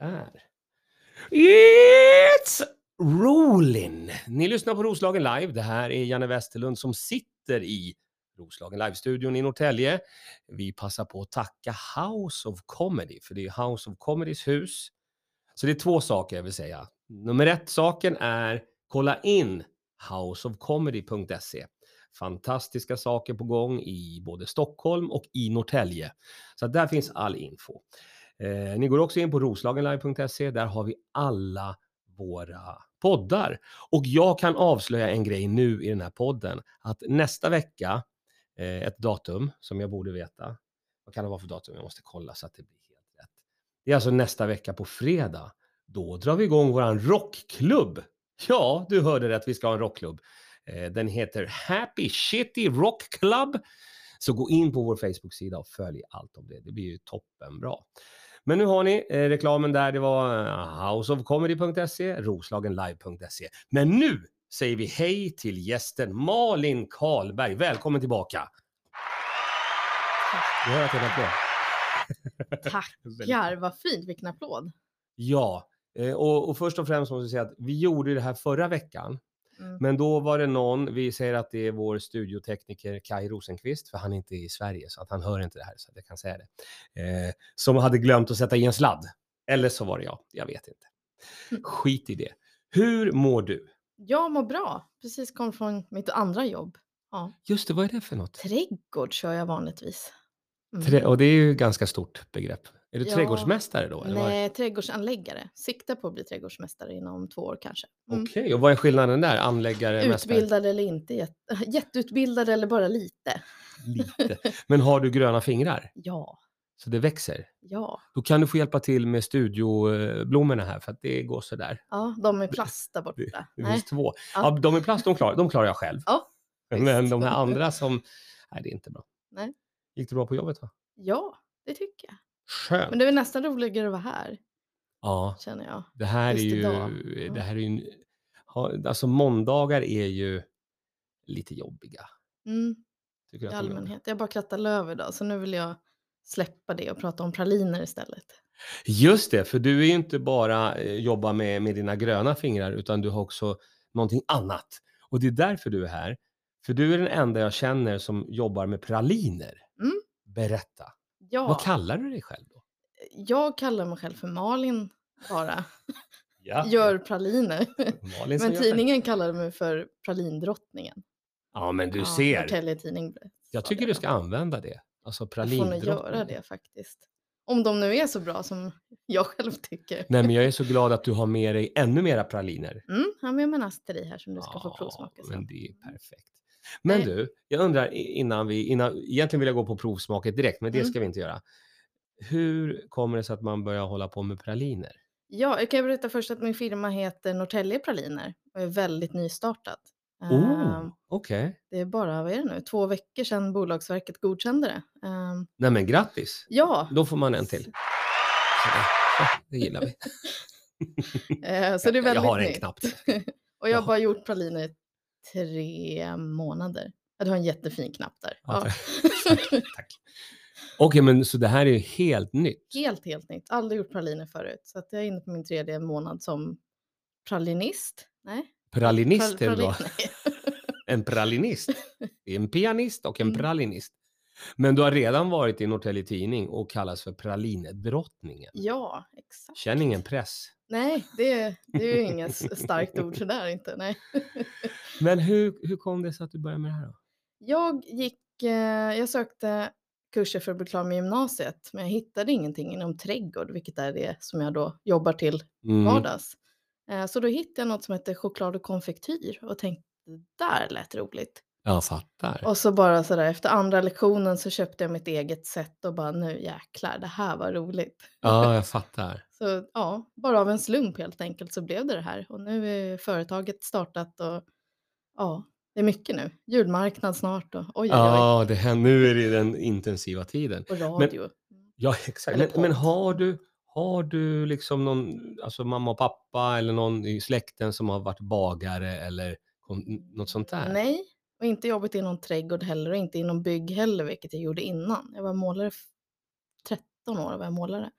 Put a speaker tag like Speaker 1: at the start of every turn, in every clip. Speaker 1: är. It's rolling! Ni lyssnar på Roslagen Live. Det här är Janne Westerlund som sitter i Roslagen Live-studion i Norrtälje. Vi passar på att tacka House of Comedy, för det är House of Comedys hus. Så det är två saker jag vill säga. Nummer ett saken är kolla in houseofcomedy.se. Fantastiska saker på gång i både Stockholm och i Norrtälje. Så att där finns all info. Eh, ni går också in på roslagenlive.se. Där har vi alla våra poddar. Och jag kan avslöja en grej nu i den här podden. Att nästa vecka, eh, ett datum som jag borde veta. Vad kan det vara för datum? Jag måste kolla så att det blir helt rätt. Det är alltså nästa vecka på fredag. Då drar vi igång våran rockklubb. Ja, du hörde rätt. Vi ska ha en rockklubb. Eh, Den heter Happy Shitty Rock Club. Så gå in på vår Facebook-sida och följ allt om det. Det blir ju toppenbra. Men nu har ni eh, reklamen där. Det var eh, houseofcomedy.se, roslagenlive.se. Men nu säger vi hej till gästen Malin Karlberg. Välkommen tillbaka. Du hör att jag är på.
Speaker 2: Tackar, vad fint, vilken applåd.
Speaker 1: Ja, eh, och, och först och främst måste jag säga att vi gjorde ju det här förra veckan.
Speaker 2: Mm.
Speaker 1: Men då var det någon, vi säger att det är vår studiotekniker Kai Rosenqvist, för han är inte i Sverige så att han hör inte det här så att jag kan säga det. Eh, som hade glömt att sätta i en sladd. Eller så var det jag, jag vet inte.
Speaker 2: Mm.
Speaker 1: Skit i det. Hur mår du?
Speaker 2: Jag mår bra, precis kom från mitt andra jobb. Ja.
Speaker 1: Just det, vad är det för något?
Speaker 2: Trädgård kör jag vanligtvis. Mm.
Speaker 1: Trä- och det är ju ett ganska stort begrepp. Är du
Speaker 2: Ja.
Speaker 1: trädgårdsmästare då? Eller vad är-
Speaker 2: Nej, trädgårdsanläggare. Siktar på att bli trädgårdsmästare inom två år kanske. Mm.
Speaker 1: Okej, och eh, vad är skillnaden där? Anläggare, mästare?
Speaker 2: Utbildad eller inte, jätte- jätteutbildad eller bara lite.
Speaker 1: Lite. Men har du gröna fingrar?
Speaker 2: Ja,
Speaker 1: Så det växer?
Speaker 2: ja,
Speaker 1: Då kan du få hjälpa till med studioblommorna här för att det går sådär.
Speaker 2: ja, de är plast där borta.
Speaker 1: Det
Speaker 2: Nej.
Speaker 1: finns två.
Speaker 2: Ja.
Speaker 1: Ja, de i plast, de klarar, de klarar jag själv.
Speaker 2: Ja,
Speaker 1: Men
Speaker 2: visst.
Speaker 1: de här andra som... Nej, det är inte bra.
Speaker 2: Nej.
Speaker 1: Gick det bra på jobbet? Va?
Speaker 2: Ja, det tycker jag.
Speaker 1: Skönt.
Speaker 2: Men det är väl nästan roligare att vara här,
Speaker 1: Ja,
Speaker 2: känner jag.
Speaker 1: det här är
Speaker 2: Just
Speaker 1: ju... eh,
Speaker 2: idag. Ja.
Speaker 1: Det här är ju en... ha- Alltså måndagar är ju lite jobbiga.
Speaker 2: Mm.
Speaker 1: Tycker du att
Speaker 2: i
Speaker 1: de är jobbiga?
Speaker 2: allmänhet. Jag bara krattar löv idag, så nu vill jag släppa det och prata om praliner istället.
Speaker 1: Just det, för du är ju inte bara eh, jobba med, med dina gröna fingrar utan du har också någonting annat. Och det är därför du är här. För du är den enda jag känner som jobbar med praliner.
Speaker 2: Mm.
Speaker 1: Berätta.
Speaker 2: Ja,
Speaker 1: Vad kallar du dig själv då?
Speaker 2: jag kallar mig själv för Malin bara.
Speaker 1: Ja.
Speaker 2: Gör praliner.
Speaker 1: Malin som
Speaker 2: Men
Speaker 1: gör
Speaker 2: tidningen kallade mig för pralindrottningen.
Speaker 1: Ja, men du
Speaker 2: Ja,
Speaker 1: ser.
Speaker 2: Norrtälje tidning. blev-
Speaker 1: Jag
Speaker 2: sa
Speaker 1: tycker
Speaker 2: det
Speaker 1: du
Speaker 2: då.
Speaker 1: ska använda det. Alltså
Speaker 2: Jag får nog göra
Speaker 1: pralindrottningen.
Speaker 2: det faktiskt. Om de nu är så bra som jag själv tycker.
Speaker 1: Nej, men jag är så glad att du har med dig ännu mera praliner.
Speaker 2: Mm, här med en asteri här som du ska få
Speaker 1: Ja,
Speaker 2: provsmaka sen. Eh.
Speaker 1: Men det är perfekt. Men
Speaker 2: Nej.
Speaker 1: du, jag undrar i- innan vi, innan, egentligen vill jag gå på provsmaket direkt, men det
Speaker 2: Mm.
Speaker 1: ska vi inte göra. Hur kommer det sig att man börjar hålla på med praliner?
Speaker 2: Ja, jag kan berätta först att min firma heter Norrtälje Praliner och är väldigt nystartad. Ehm,
Speaker 1: Oh, okej.
Speaker 2: Det är bara, vad är det nu, två veckor sedan Bolagsverket godkände det. Ehm,
Speaker 1: Nej men grattis!
Speaker 2: ja,
Speaker 1: Då får man en till. Sådär. Ja, Det gillar vi.
Speaker 2: eh, så det är väldigt
Speaker 1: jag har en
Speaker 2: nytt.
Speaker 1: knappt.
Speaker 2: Och jag
Speaker 1: Jag
Speaker 2: har bara gjort praliner i tre månader. Ja, du har en jättefin knapp där.
Speaker 1: Mm. Ja,
Speaker 2: Ja.
Speaker 1: Tack. Okej, men så det här är ju helt nytt.
Speaker 2: helt, helt nytt. Aldrig gjort praliner förut. Så att jag är inne på min tredje månad som pralinist. Nej,
Speaker 1: Pralinist är du då.
Speaker 2: pralin- nej.
Speaker 1: En pralinist. Det är en pianist och en
Speaker 2: Mm.
Speaker 1: pralinist. Men du har redan varit i Norrtälje Tidning och kallas för pralinedrottningen.
Speaker 2: Ja, exakt.
Speaker 1: Känn ingen press.
Speaker 2: Nej, det, det är ju inget s- starkt ord sådär inte. Nej.
Speaker 1: Men hur, hur kom det sig att du började med det här då?
Speaker 2: Jag gick, eh, jag sökte kurser för att bli klar med gymnasiet, men jag hittade ingenting inom trädgård, vilket är det som jag då jobbar till
Speaker 1: Mm.
Speaker 2: vardags. Eh, Så då hittade jag något som heter choklad och konfektyr och tänkte det där lät roligt.
Speaker 1: Jag fattar.
Speaker 2: Och så bara sådär efter andra lektionen så köpte jag mitt eget set och bara nu jäklar, det här var roligt.
Speaker 1: Ja, jag fattar.
Speaker 2: Så ja, bara av en slump helt enkelt så blev det det här och nu är företaget startat och ja, det är mycket nu. Julmarknad snart och oj, oj, oj.
Speaker 1: Ja, det här, nu är det den intensiva tiden.
Speaker 2: Och radio.
Speaker 1: Ja, exakt.
Speaker 2: Eller
Speaker 1: Men, men
Speaker 2: podd.
Speaker 1: har du, har du liksom någon, alltså mamma och pappa eller någon i släkten som har varit bagare eller kon- något sånt där?
Speaker 2: Nej, och inte jobbat inom trädgård heller och inte inom bygg heller, vilket jag gjorde innan. Jag var målare f- 13 år och var jag målare.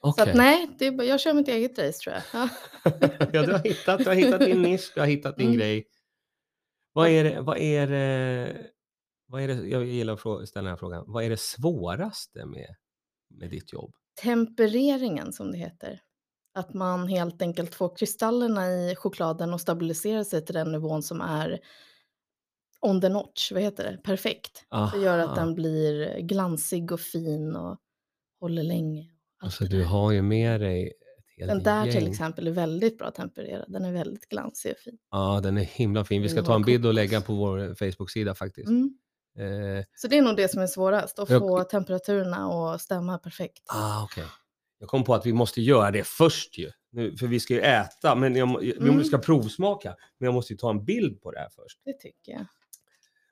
Speaker 2: Så
Speaker 1: Okej.
Speaker 2: att, nej, det är, bara- jag kör mitt eget race tror jag. Ja.
Speaker 1: ja, du, har hittat, du har hittat din nisch, du har hittat din
Speaker 2: Mm.
Speaker 1: grej. Vad är, det, vad, är det, vad är det, jag gillar att frå- ställa den här frågan, vad är det svåraste med, med ditt jobb?
Speaker 2: tempereringen som det heter. Att man helt enkelt får kristallerna i chokladen och stabiliserar sig till den nivån som är on the notch, vad heter det, perfekt. Det gör
Speaker 1: Ah,
Speaker 2: att den blir glansig och fin och håller länge. Allt
Speaker 1: Alltså
Speaker 2: det
Speaker 1: du
Speaker 2: där.
Speaker 1: har ju med dig ett helt
Speaker 2: Den där till
Speaker 1: gäng.
Speaker 2: exempel är väldigt bra tempererad, den är väldigt glansig och fin.
Speaker 1: Ja, den är himla fin. Vi
Speaker 2: Den
Speaker 1: ska
Speaker 2: har
Speaker 1: ta en bild och
Speaker 2: kokos.
Speaker 1: lägga på vår Facebook-sida faktiskt.
Speaker 2: Mm.
Speaker 1: Eh,
Speaker 2: Så det är nog det som är svårast, att
Speaker 1: Jag-
Speaker 2: få temperaturerna att stämma perfekt.
Speaker 1: ah, okej. Jag kom på att vi måste göra det först ju. Nu, för vi ska ju äta, men jag, må- vi
Speaker 2: Mm.
Speaker 1: ska provsmaka. Men jag måste ju ta en bild på det här först.
Speaker 2: Det tycker jag.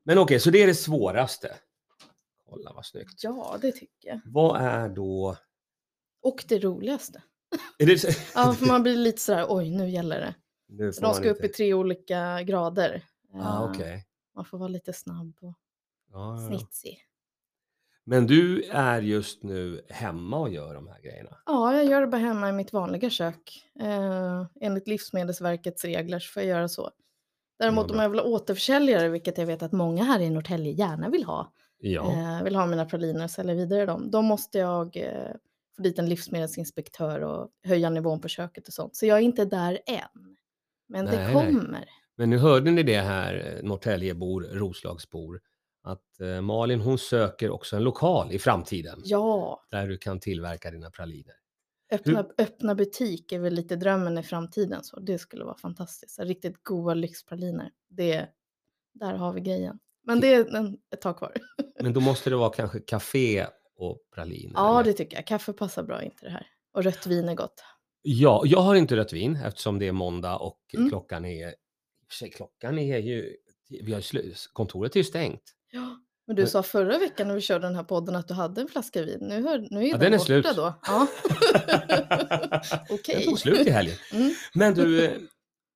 Speaker 1: Men okej, så det är det svåraste. Kolla vad snyggt.
Speaker 2: Ja, det tycker jag.
Speaker 1: Vad är då...
Speaker 2: Och det roligaste.
Speaker 1: Är det...
Speaker 2: Ja, för man blir lite sådär, oj, nu gäller det.
Speaker 1: Nu
Speaker 2: Så
Speaker 1: får
Speaker 2: de
Speaker 1: man
Speaker 2: ska upp
Speaker 1: inte-
Speaker 2: i tre olika grader.
Speaker 1: Ah,
Speaker 2: Eh,
Speaker 1: okej.
Speaker 2: Man får vara lite snabb och
Speaker 1: Ja, ja, ja.
Speaker 2: snitsig.
Speaker 1: Men du är just nu hemma och gör de här grejerna.
Speaker 2: Ja, jag gör det bara hemma i mitt vanliga kök. Eh, enligt Livsmedelsverkets regler så får jag göra så. Däremot om
Speaker 1: bra.
Speaker 2: jag vill ha återförsäljare, vilket jag vet att många här i Norrtälje gärna vill ha,
Speaker 1: Ja.
Speaker 2: eh, vill ha mina praliner och sälja vidare dem, då måste jag eh, få dit en livsmedelsinspektör och höja nivån på köket och sånt. Så jag är inte där än. Men
Speaker 1: Nej,
Speaker 2: det
Speaker 1: nej.
Speaker 2: kommer.
Speaker 1: Men nu hörde ni det här, eh, Norrtäljebor, Roslagsbor, att eh, Malin hon söker också en lokal i framtiden
Speaker 2: Ja,
Speaker 1: där du kan tillverka dina praliner.
Speaker 2: Öppna, öppna butik är väl lite drömmen i framtiden. Så det skulle vara fantastiskt. Så riktigt goda lyxpraliner. Det, där har vi grejen. Men det är en, ett tag kvar.
Speaker 1: Men då måste det vara kanske café och praliner.
Speaker 2: Ja,
Speaker 1: eller?
Speaker 2: det tycker jag. Kaffe passar bra in till det här. Och rött vin är gott.
Speaker 1: ja, jag har inte rött vin eftersom det är måndag och
Speaker 2: Mm.
Speaker 1: klockan är... i och för sig, Klockan är ju... Vi har ju slu, kontoret är ju stängt.
Speaker 2: Ja. Men du
Speaker 1: Men-
Speaker 2: sa förra veckan när vi körde den här podden att du hade en flaska vin. Nu, hör, nu är
Speaker 1: Ja,
Speaker 2: den,
Speaker 1: den är
Speaker 2: borta
Speaker 1: slut.
Speaker 2: då. Ja.
Speaker 1: Den
Speaker 2: Okej.
Speaker 1: tog slut i helgen.
Speaker 2: Mm.
Speaker 1: Men du, eh,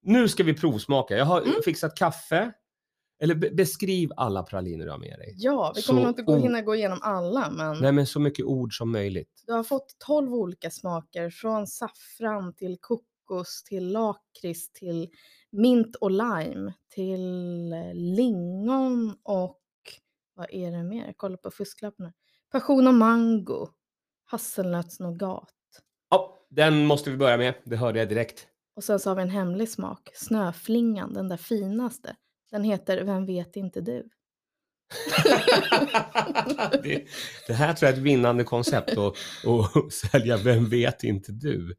Speaker 1: nu ska vi provsmaka. Jag har
Speaker 2: Mm.
Speaker 1: fixat kaffe. Eller be- beskriv alla praliner du har med dig.
Speaker 2: Ja, vi kommer
Speaker 1: Så
Speaker 2: nog inte gå,
Speaker 1: o-
Speaker 2: hinna gå igenom alla, men
Speaker 1: Nej, men så mycket ord som möjligt.
Speaker 2: Du har fått 12 olika smaker från saffran till kokos till lakrits till mint och lime till eh, lingon och vad är det mer? Kolla på fusklapparna. Passion och mango. Hasselnötsnougat.
Speaker 1: Ja, den måste vi börja med. Det hörde jag direkt.
Speaker 2: Och sen så har vi en hemlig smak. Snöflingan, den där finaste. Den heter Vem vet inte du?
Speaker 1: det, det här tror jag är ett vinnande koncept och, och sälja Vem vet inte du?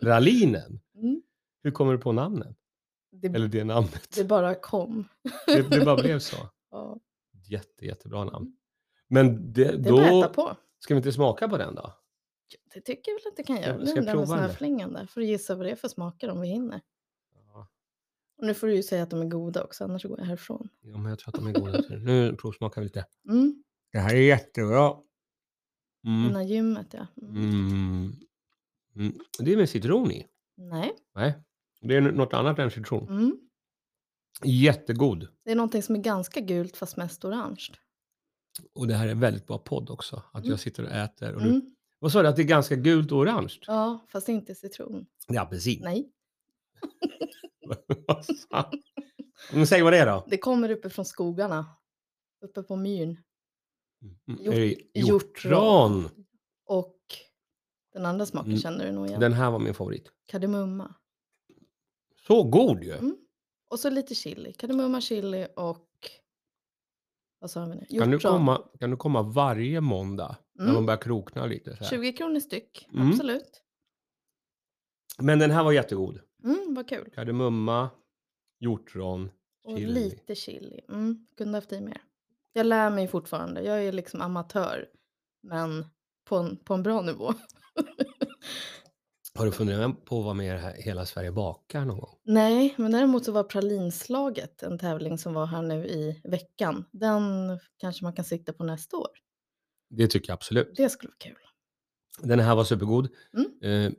Speaker 1: Pralinen.
Speaker 2: Mm.
Speaker 1: Hur kommer du på namnen?
Speaker 2: Det,
Speaker 1: Eller det namnet?
Speaker 2: det bara kom.
Speaker 1: Det, det bara blev så.
Speaker 2: Ja,
Speaker 1: Jätte, jättebra namn. Men det,
Speaker 2: det är bara att
Speaker 1: då
Speaker 2: äta på.
Speaker 1: ska vi inte smaka på den då?
Speaker 2: Ja, Det tycker jag väl att du kan
Speaker 1: Ska-
Speaker 2: göra.
Speaker 1: ska jag
Speaker 2: Linda med
Speaker 1: prova den där?
Speaker 2: snöflingan där. Får du gissa vad det är för smaker om vi hinner.
Speaker 1: Ja,
Speaker 2: Och nu får du ju säga att de är goda också, annars går jag härifrån.
Speaker 1: ja, men jag tror att de är goda. Nu provsmakar vi lite.
Speaker 2: Mm.
Speaker 1: Det här är jättebra. Mm.
Speaker 2: Innan gymmet ja. Mm.
Speaker 1: Mm. Mm. Det är med citron i.
Speaker 2: Nej.
Speaker 1: Nej, det är något annat än citron.
Speaker 2: Mm.
Speaker 1: Jättegod.
Speaker 2: Det är någonting som är ganska gult fast mest orange.
Speaker 1: Och det här är en väldigt bra podd också. Att
Speaker 2: Mm.
Speaker 1: jag sitter och äter. Och du,
Speaker 2: Mm.
Speaker 1: vad sa du? Att det är ganska gult och orange?
Speaker 2: Ja, fast inte citron.
Speaker 1: Det är apelsin.
Speaker 2: Nej,
Speaker 1: Vad fan? Men säg vad det är då.
Speaker 2: det kommer uppifrån skogarna. Uppe på myn.
Speaker 1: Mm, är det
Speaker 2: Hjort-
Speaker 1: Hjortron.
Speaker 2: Och den andra smaken
Speaker 1: Mm.
Speaker 2: känner du nog igen.
Speaker 1: Den här var min favorit.
Speaker 2: Kardemumma.
Speaker 1: Så god ju.
Speaker 2: Mm. Och så lite chili. Kardemumma, chili och... Vad sa vi nu?
Speaker 1: Kan, du
Speaker 2: Hjortron.
Speaker 1: komma, kan du komma varje måndag när
Speaker 2: Mm.
Speaker 1: man börjar krokna lite? Så här.
Speaker 2: 20 kronor styck,
Speaker 1: Mm.
Speaker 2: absolut.
Speaker 1: Men den här var jättegod.
Speaker 2: Mm, vad kul.
Speaker 1: Kardemumma, hjortron.
Speaker 2: Och
Speaker 1: Chili.
Speaker 2: lite chili. Mm, kunde haft i mer. Jag lär mig fortfarande. Jag är liksom amatör. Men på en, på en bra nivå.
Speaker 1: Har du funderat på att vara med i det här Hela Sverige bakar någon gång?
Speaker 2: Nej, men däremot så var pralinslaget en tävling som var här nu i veckan. Den kanske man kan sikta på nästa år.
Speaker 1: Det tycker jag absolut.
Speaker 2: Det skulle vara kul.
Speaker 1: Den här var supergod.
Speaker 2: Mm.
Speaker 1: Eh,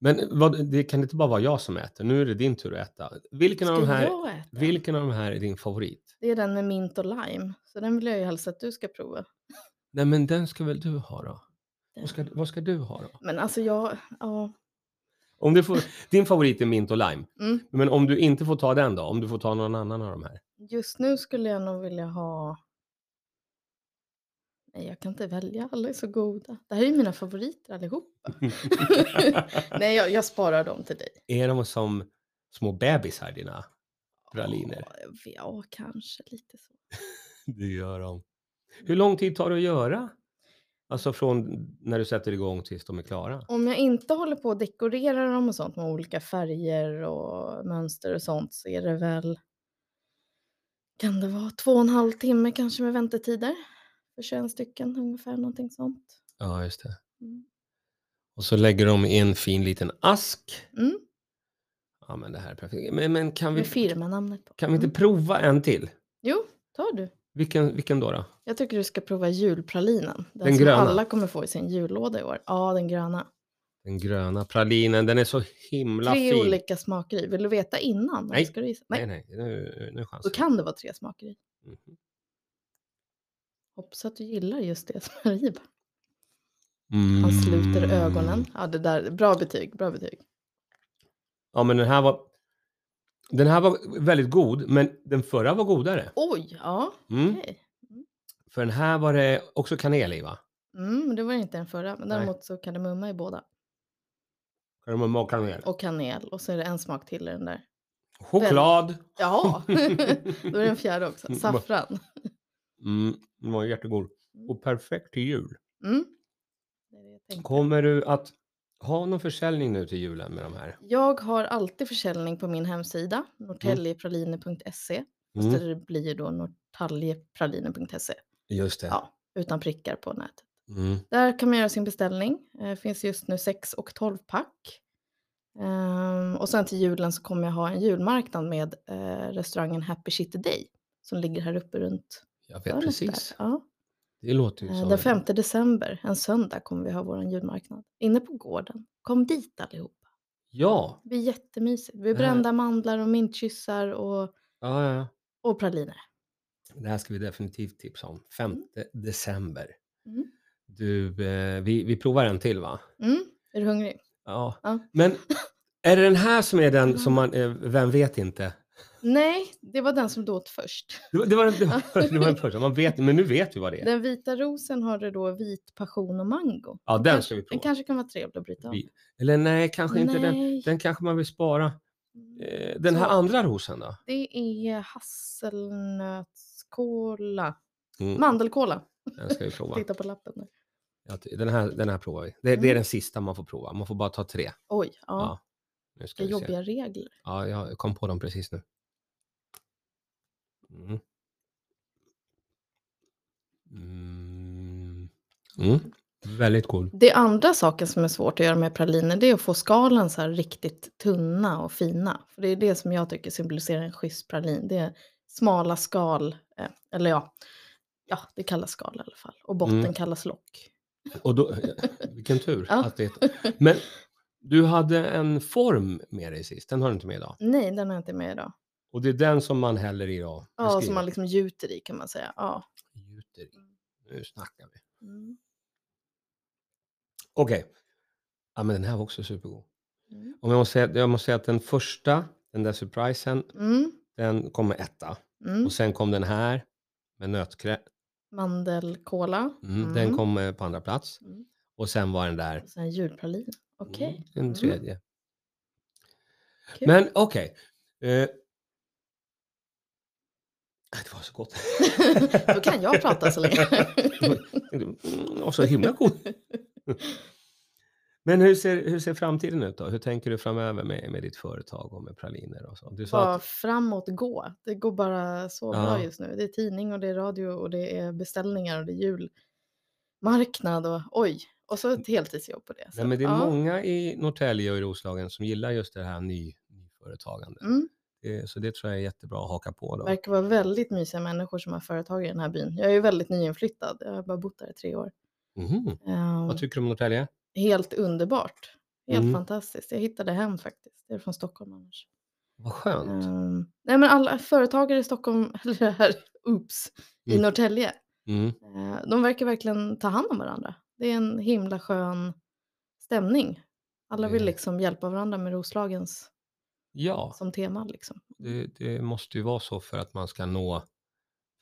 Speaker 1: Men vad, det kan inte bara vara jag som äter. Nu är det din tur att äta. Vilken, av de,
Speaker 2: Ska
Speaker 1: här,
Speaker 2: jag äta?
Speaker 1: vilken av de här är din favorit?
Speaker 2: Det är den med mint och lime. Så den vill jag ju helst att du ska prova.
Speaker 1: Nej, men den ska väl du ha då? Vad ska, vad ska du ha då?
Speaker 2: Men alltså jag, ja.
Speaker 1: Om du får, din favorit är mint och lime.
Speaker 2: Mm.
Speaker 1: Men om du inte får ta den då? Om du får ta någon annan av de här?
Speaker 2: Just nu skulle jag nog vilja ha... Nej, jag kan inte välja. Alla är så goda. Det här är ju mina favoriter allihopa. Nej, jag, jag sparar dem till dig.
Speaker 1: Är de som små bebisar dina praliner?
Speaker 2: Ja, jag vet- Ja, kanske lite så.
Speaker 1: Det gör de. Hur lång tid tar det att göra? Alltså från när du sätter igång tills de är klara?
Speaker 2: Om jag inte håller på att dekorera dem och sånt med olika färger och mönster och sånt så är det väl... Kan det vara två och en halv timme kanske med väntetider? För 21 stycken ungefär, någonting sånt.
Speaker 1: Ja, just det.
Speaker 2: Mm.
Speaker 1: Och så lägger de i en fin liten ask.
Speaker 2: Mm.
Speaker 1: Ja, men det här är perfekt. Men, men kan,
Speaker 2: Med
Speaker 1: vi,
Speaker 2: firmanamnet på.
Speaker 1: kan vi inte
Speaker 2: Mm.
Speaker 1: prova en till?
Speaker 2: Jo, tar du.
Speaker 1: Vilken, vilken då? då?
Speaker 2: Jag tycker du ska prova julpralinen. Den,
Speaker 1: Den
Speaker 2: som
Speaker 1: gröna?
Speaker 2: alla kommer få i sin jullåda i år. Ja, den gröna.
Speaker 1: Den gröna pralinen, den är så himla
Speaker 2: tre
Speaker 1: fin.
Speaker 2: olika smaker i. Vill du veta innan?
Speaker 1: Nej.
Speaker 2: Ska du gissa?
Speaker 1: Nej,
Speaker 2: Nej.
Speaker 1: nej, nu, nu chansar
Speaker 2: Då
Speaker 1: jag.
Speaker 2: kan det vara tre smaker i.
Speaker 1: Mhm.
Speaker 2: Hoppas att du gillar just det som är i. bara.
Speaker 1: Mm.
Speaker 2: Han sluter ögonen. Ja, det där, bra betyg, bra betyg.
Speaker 1: Ja, men den här var... Den här var väldigt god, men den förra var godare.
Speaker 2: Oj, ja,
Speaker 1: Mm.
Speaker 2: okej.
Speaker 1: För den här var det också kanel i, va?
Speaker 2: Mm, men det var inte den förra, men
Speaker 1: Nej.
Speaker 2: däremot så kardemumma i båda.
Speaker 1: Kardemumma och kanel.
Speaker 2: Och kanel, och så är det en smak till i den där.
Speaker 1: Choklad!
Speaker 2: Jaha, då är den fjärde också.
Speaker 1: Mm,
Speaker 2: Saffran.
Speaker 1: Mm, den var jättegod. Och perfekt till jul.
Speaker 2: Mm. Det är det jag tänkte.
Speaker 1: Kommer du att ha någon försäljning nu till julen med de här?
Speaker 2: Jag har alltid försäljning på min hemsida, norrtäljepraliner.se. Fast
Speaker 1: Mm,
Speaker 2: Det blir ju då norrtäljepraliner.se,
Speaker 1: just det.
Speaker 2: Ja. utan prickar på nätet.
Speaker 1: Mm.
Speaker 2: Där kan man göra sin beställning. Det finns just nu 6 och 12-pack. Ehm, och sen till julen så kommer jag ha en julmarknad med eh, restaurangen Happy City Day som ligger här uppe runt
Speaker 1: Jag vet
Speaker 2: hörnet
Speaker 1: precis.
Speaker 2: Där. Ja.
Speaker 1: Det låter ju
Speaker 2: Eh,
Speaker 1: som...
Speaker 2: Den 5 december, en söndag, kommer vi ha vår julmarknad inne på gården. Kom dit allihopa.
Speaker 1: Ja.
Speaker 2: Det blir jättemysigt. Vi
Speaker 1: här-
Speaker 2: brända mandlar och mintkyssar och,
Speaker 1: Ja, ja, ja.
Speaker 2: och praliner.
Speaker 1: Det här ska vi definitivt tipsa om. 5 december.
Speaker 2: Mm.
Speaker 1: Du, eh, vi, vi provar en till va?
Speaker 2: Mm. Är du hungrig?
Speaker 1: Ja.
Speaker 2: Ja.
Speaker 1: Men är det den här som är den som man, eh, vem vet inte?
Speaker 2: Nej, det var den som du åt först.
Speaker 1: Det var, det var, det var, det var den första, man vet men nu vet vi vad det är.
Speaker 2: Den vita rosen har det då vit passion och mango.
Speaker 1: Ja, den
Speaker 2: kanske-
Speaker 1: ska vi
Speaker 2: Den
Speaker 1: prova.
Speaker 2: kanske kan vara trevlig att bryta av.
Speaker 1: Vi- Eller nej, kanske inte den.
Speaker 2: Nej,
Speaker 1: Den kanske man vill spara. Eh, Den här
Speaker 2: Så.
Speaker 1: andra rosen då?
Speaker 2: det är hasselnötskola.
Speaker 1: Mm,
Speaker 2: Mandelkola.
Speaker 1: den ska vi prova.
Speaker 2: Titta på lappen. där.
Speaker 1: Ja, t- Den här, den här provar vi. Det, det är
Speaker 2: Mm.
Speaker 1: den sista man får prova. Man får bara ta tre.
Speaker 2: Oj, ja.
Speaker 1: Ja, Nu ska
Speaker 2: det är
Speaker 1: vi se.
Speaker 2: jobbiga regler.
Speaker 1: Ja, jag kom på dem precis nu. Mm. Mm. Mm. Väldigt cool.
Speaker 2: Det andra saken som är svårt att göra med praliner det är att få skalen så här riktigt tunna och fina. För Det är det som jag tycker symboliserar en schysst pralin. Det är smala skal, eh, eller ja, ja, det kallas skal i alla fall. Och botten
Speaker 1: Mm.
Speaker 2: kallas lock.
Speaker 1: Och då, eh, vilken tur.
Speaker 2: Ja.
Speaker 1: Att det, men du hade en form med dig sist, den har du inte med idag.
Speaker 2: Nej, den har jag inte med idag.
Speaker 1: Och det är den som man häller i idag.
Speaker 2: Ja, som man liksom gjuter i kan man säga. Ja.
Speaker 1: Gjuter i. Nu snackar vi.
Speaker 2: Mm.
Speaker 1: Okej. Ja, men den här var också supergod.
Speaker 2: Mm.
Speaker 1: Om jag, måste säga, jag måste säga att den första, den där surprisen,
Speaker 2: Mm.
Speaker 1: den kom med etta.
Speaker 2: Mm.
Speaker 1: Och sen kom den här med nötkräm.
Speaker 2: Mandelkola.
Speaker 1: Mm, Den kom eh, på andra plats.
Speaker 2: Mm.
Speaker 1: Och sen var den där.
Speaker 2: Och sen julpralin. Okej.
Speaker 1: Mm, Den
Speaker 2: Mm.
Speaker 1: tredje.
Speaker 2: Kul.
Speaker 1: Men okej. Eh, Äh, det var så gott.
Speaker 2: Då kan jag prata så länge.
Speaker 1: Mm, det var så himla gott. Men hur ser, hur ser framtiden ut då? Hur tänker du framöver med, med ditt företag och med praliner och så? Du sa
Speaker 2: Bara
Speaker 1: att,
Speaker 2: framåt gå. Det går bara så
Speaker 1: Ja.
Speaker 2: bra just nu. Det är tidning och det är radio och det är beställningar och det är julmarknad och oj. Och så ett heltidsjobb på det. Så,
Speaker 1: Mm. nej, men det är
Speaker 2: ja.
Speaker 1: många i Norrtälje och i Roslagen som gillar just det här ny, nyföretagandet.
Speaker 2: Mm,
Speaker 1: Eh, Så det tror jag är jättebra att haka på då.
Speaker 2: verkar vara väldigt mysiga människor som har företag i den här byn. Jag är ju väldigt nyinflyttad. Jag har bara bott där i tre år.
Speaker 1: Mhm.
Speaker 2: Ehm,
Speaker 1: Vad tycker du om Norrtälje?
Speaker 2: helt underbart. Helt
Speaker 1: Mm.
Speaker 2: fantastiskt. Jag hittade hem faktiskt. Jag är från Stockholm annars.
Speaker 1: Vad skönt.
Speaker 2: Ehm, nej men alla företagare i Stockholm, eller här, oops, i
Speaker 1: Mm.
Speaker 2: Norrtälje,
Speaker 1: Mm.
Speaker 2: eh, de verkar verkligen ta hand om varandra. Det är en himla skön stämning. Alla vill
Speaker 1: Det-
Speaker 2: liksom hjälpa varandra med Roslagens
Speaker 1: Ja,
Speaker 2: som tema. Liksom.
Speaker 1: det, det måste ju vara så för att man ska nå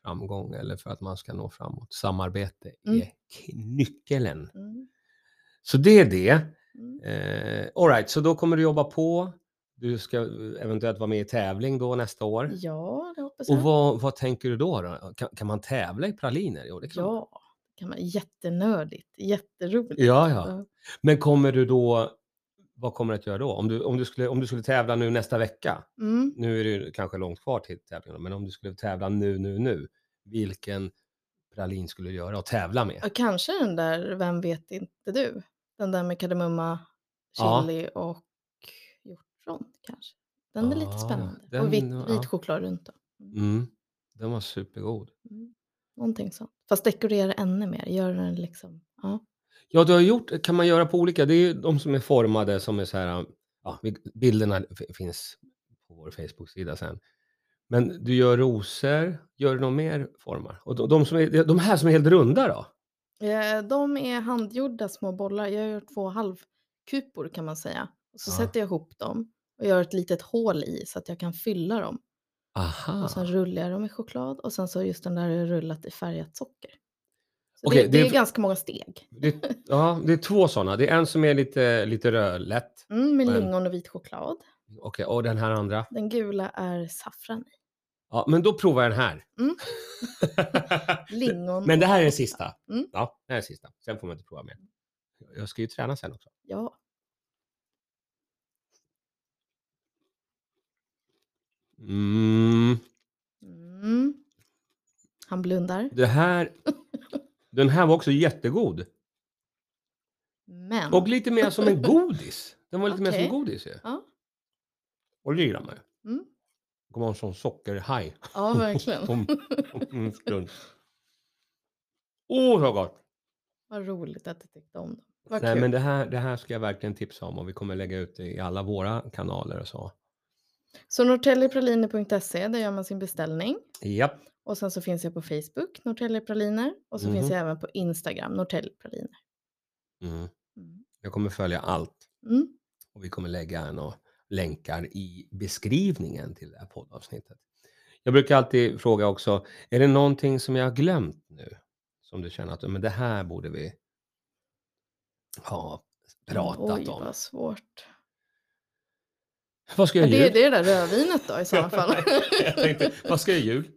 Speaker 1: framgång eller för att man ska nå framåt. Samarbete
Speaker 2: Mm.
Speaker 1: är k- nyckeln.
Speaker 2: Mm.
Speaker 1: Så det är det.
Speaker 2: Mm.
Speaker 1: Eh, all right, så då kommer du jobba på. Du ska eh, eventuellt vara med i tävling då nästa år.
Speaker 2: Ja, det hoppas jag.
Speaker 1: Och vad, vad tänker du då? då? Kan, kan man tävla i praliner? Jo, det kan man.
Speaker 2: Ja, det kan vara jättenördigt, jätteroligt.
Speaker 1: Ja, ja. Men kommer du då, vad kommer du att göra då? Om du, om du, skulle, om du skulle tävla nu nästa vecka,
Speaker 2: Mm.
Speaker 1: nu är det ju kanske långt kvar till tävlingen, men om du skulle tävla nu, nu, nu, vilken pralin skulle du göra och tävla med?
Speaker 2: Ja, kanske den där Vem vet inte du? Den där med kardemumma,
Speaker 1: Ja.
Speaker 2: chili och hjortron kanske. Den är lite
Speaker 1: Ja,
Speaker 2: spännande.
Speaker 1: den-
Speaker 2: och vit,
Speaker 1: ja.
Speaker 2: vit choklad runt då.
Speaker 1: Mm, den var supergod.
Speaker 2: Mm. Någonting sånt. Fast dekorera ännu mer. Gör den liksom. Ja.
Speaker 1: Ja, du har gjort, kan man göra på olika, det är ju de som är formade som är så här, ja, vi- bilderna f- finns på vår Facebook-sida sen. Men du gör rosor, gör du någon mer formar? Och de, de, som är, de här som är helt runda då?
Speaker 2: Eh, De är handgjorda små bollar. Jag gör två halvkupor kan man säga. Och så
Speaker 1: Ja.
Speaker 2: sätter jag ihop dem och gör ett litet hål i så att jag kan fylla dem.
Speaker 1: Aha.
Speaker 2: Och sen rullar jag dem i choklad och sen så just den där är rullat i färgat socker. Så
Speaker 1: Okej,
Speaker 2: det,
Speaker 1: det
Speaker 2: det,
Speaker 1: är
Speaker 2: är
Speaker 1: f-
Speaker 2: ganska många steg.
Speaker 1: Det, ja, det är två sådana. Det är en som är lite, lite rödlätt.
Speaker 2: Mm, med
Speaker 1: Men-
Speaker 2: lingon och vit choklad.
Speaker 1: Okej, och den här andra.
Speaker 2: Den gula är saffran i.
Speaker 1: Ja, men då provar jag den här.
Speaker 2: Mm. Lingon.
Speaker 1: men det
Speaker 2: och-
Speaker 1: här är den sista.
Speaker 2: Mm.
Speaker 1: Ja, det här är den sista. Sen får man inte prova mer. Jag ska ju träna sen också.
Speaker 2: Ja.
Speaker 1: Mm,
Speaker 2: Mm. Han blundar.
Speaker 1: det här... Den här var också jättegod.
Speaker 2: Men.
Speaker 1: Och lite mer som en godis. Den var lite mer som
Speaker 2: Okej.
Speaker 1: godis ju.
Speaker 2: Ja.
Speaker 1: Och det gillar man ju.
Speaker 2: Mm.
Speaker 1: Det kommer vara en sån sockerhaj.
Speaker 2: Ja, verkligen.
Speaker 1: Om, om en stund. Åh, så gott!
Speaker 2: Vad roligt att du tyckte om dem. Vad
Speaker 1: Nej,
Speaker 2: kul.
Speaker 1: men det här, det här ska jag verkligen tipsa om och vi kommer lägga ut det i alla våra kanaler och så.
Speaker 2: Så norrtäljepraliner.se, där gör man sin beställning.
Speaker 1: Japp.
Speaker 2: Och sen så finns jag på Facebook, Norrtäljepraliner. Och så finns
Speaker 1: Mhm.
Speaker 2: jag även på Instagram, Norrtäljepraliner.
Speaker 1: Mm.
Speaker 2: Mm.
Speaker 1: Jag kommer följa allt
Speaker 2: Mm.
Speaker 1: och vi kommer lägga några länkar i beskrivningen till det här poddavsnittet. Jag brukar alltid fråga också, är det någonting som jag har glömt nu? Som du känner att men det här borde vi ha pratat
Speaker 2: Oj,
Speaker 1: om.
Speaker 2: vad svårt.
Speaker 1: Vad ska
Speaker 2: Ja,
Speaker 1: jag i
Speaker 2: det,
Speaker 1: jul?
Speaker 2: det är det där rödvinet då i sådana fall.
Speaker 1: jag tänkte, vad ska jag i jul?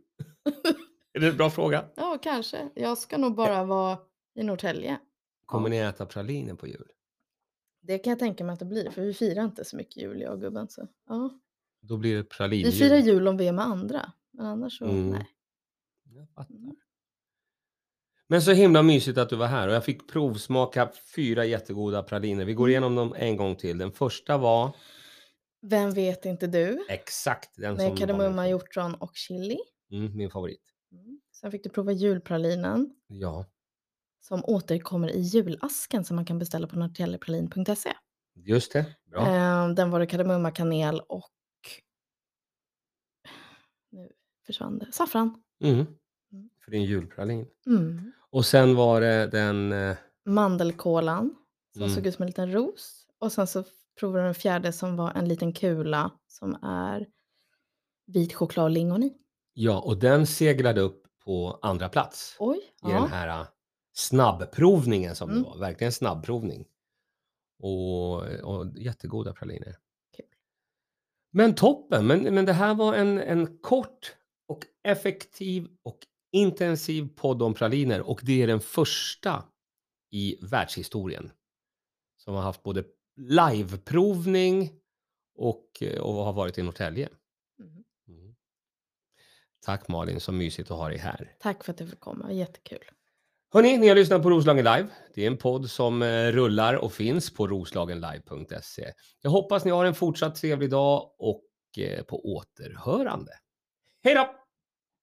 Speaker 1: Är det en bra fråga?
Speaker 2: ja, kanske. Jag ska nog bara vara i Norrtälje.
Speaker 1: Kommer ni äta praliner på jul?
Speaker 2: Det kan jag tänka mig att det blir, för vi firar inte så mycket jul, jag och gubben. Så. Ja.
Speaker 1: Då blir det pralinjul.
Speaker 2: Vi firar jul om vi är med andra, men annars så
Speaker 1: Mm.
Speaker 2: nej.
Speaker 1: Jag fattar.
Speaker 2: Mm.
Speaker 1: Men så himla mysigt att du var här och jag fick provsmaka fyra jättegoda praliner. Vi går
Speaker 2: Mm.
Speaker 1: igenom dem en gång till. Den första var
Speaker 2: Vem vet inte du?
Speaker 1: exakt den som
Speaker 2: Med
Speaker 1: var
Speaker 2: kardemumma,
Speaker 1: min,
Speaker 2: hjortron och chili.
Speaker 1: mm, min favorit.
Speaker 2: Mm. Sen fick du prova julpralinen
Speaker 1: Ja,
Speaker 2: som återkommer i julasken som man kan beställa på norrtäljepralin.se.
Speaker 1: just det. Bra.
Speaker 2: Eh, Den var det kardemumma, kanel och nu försvann det. Saffran.
Speaker 1: Mm. För din julpralin.
Speaker 2: Mm.
Speaker 1: Och sen var det den... eh,
Speaker 2: Mandelkolan som
Speaker 1: Mm.
Speaker 2: såg ut som en liten ros. Och sen så provade jag den fjärde som var en liten kula som är vit choklad och lingon i.
Speaker 1: Ja, och den seglade upp på andra plats
Speaker 2: Oj,
Speaker 1: i den
Speaker 2: ja.
Speaker 1: här eh, snabbprovningen som
Speaker 2: Mm.
Speaker 1: det var. Verkligen snabbprovning. Och, och jättegoda praliner.
Speaker 2: Kul.
Speaker 1: Men toppen! Men, men det här var en, en kort och effektiv och intensiv podd om praliner och det är den första i världshistorien som har haft både liveprovning och, eh, och har varit i Norrtälje.
Speaker 2: Mm.
Speaker 1: Mm. Tack Malin, så mysigt att ha dig här.
Speaker 2: Tack för att du fick komma, jättekul.
Speaker 1: Hörni, ni har lyssnat på Roslagen Live. Det är en podd som eh, rullar och finns på roslagenlive.se. Jag hoppas ni har en fortsatt trevlig dag och eh, på återhörande. Hej då!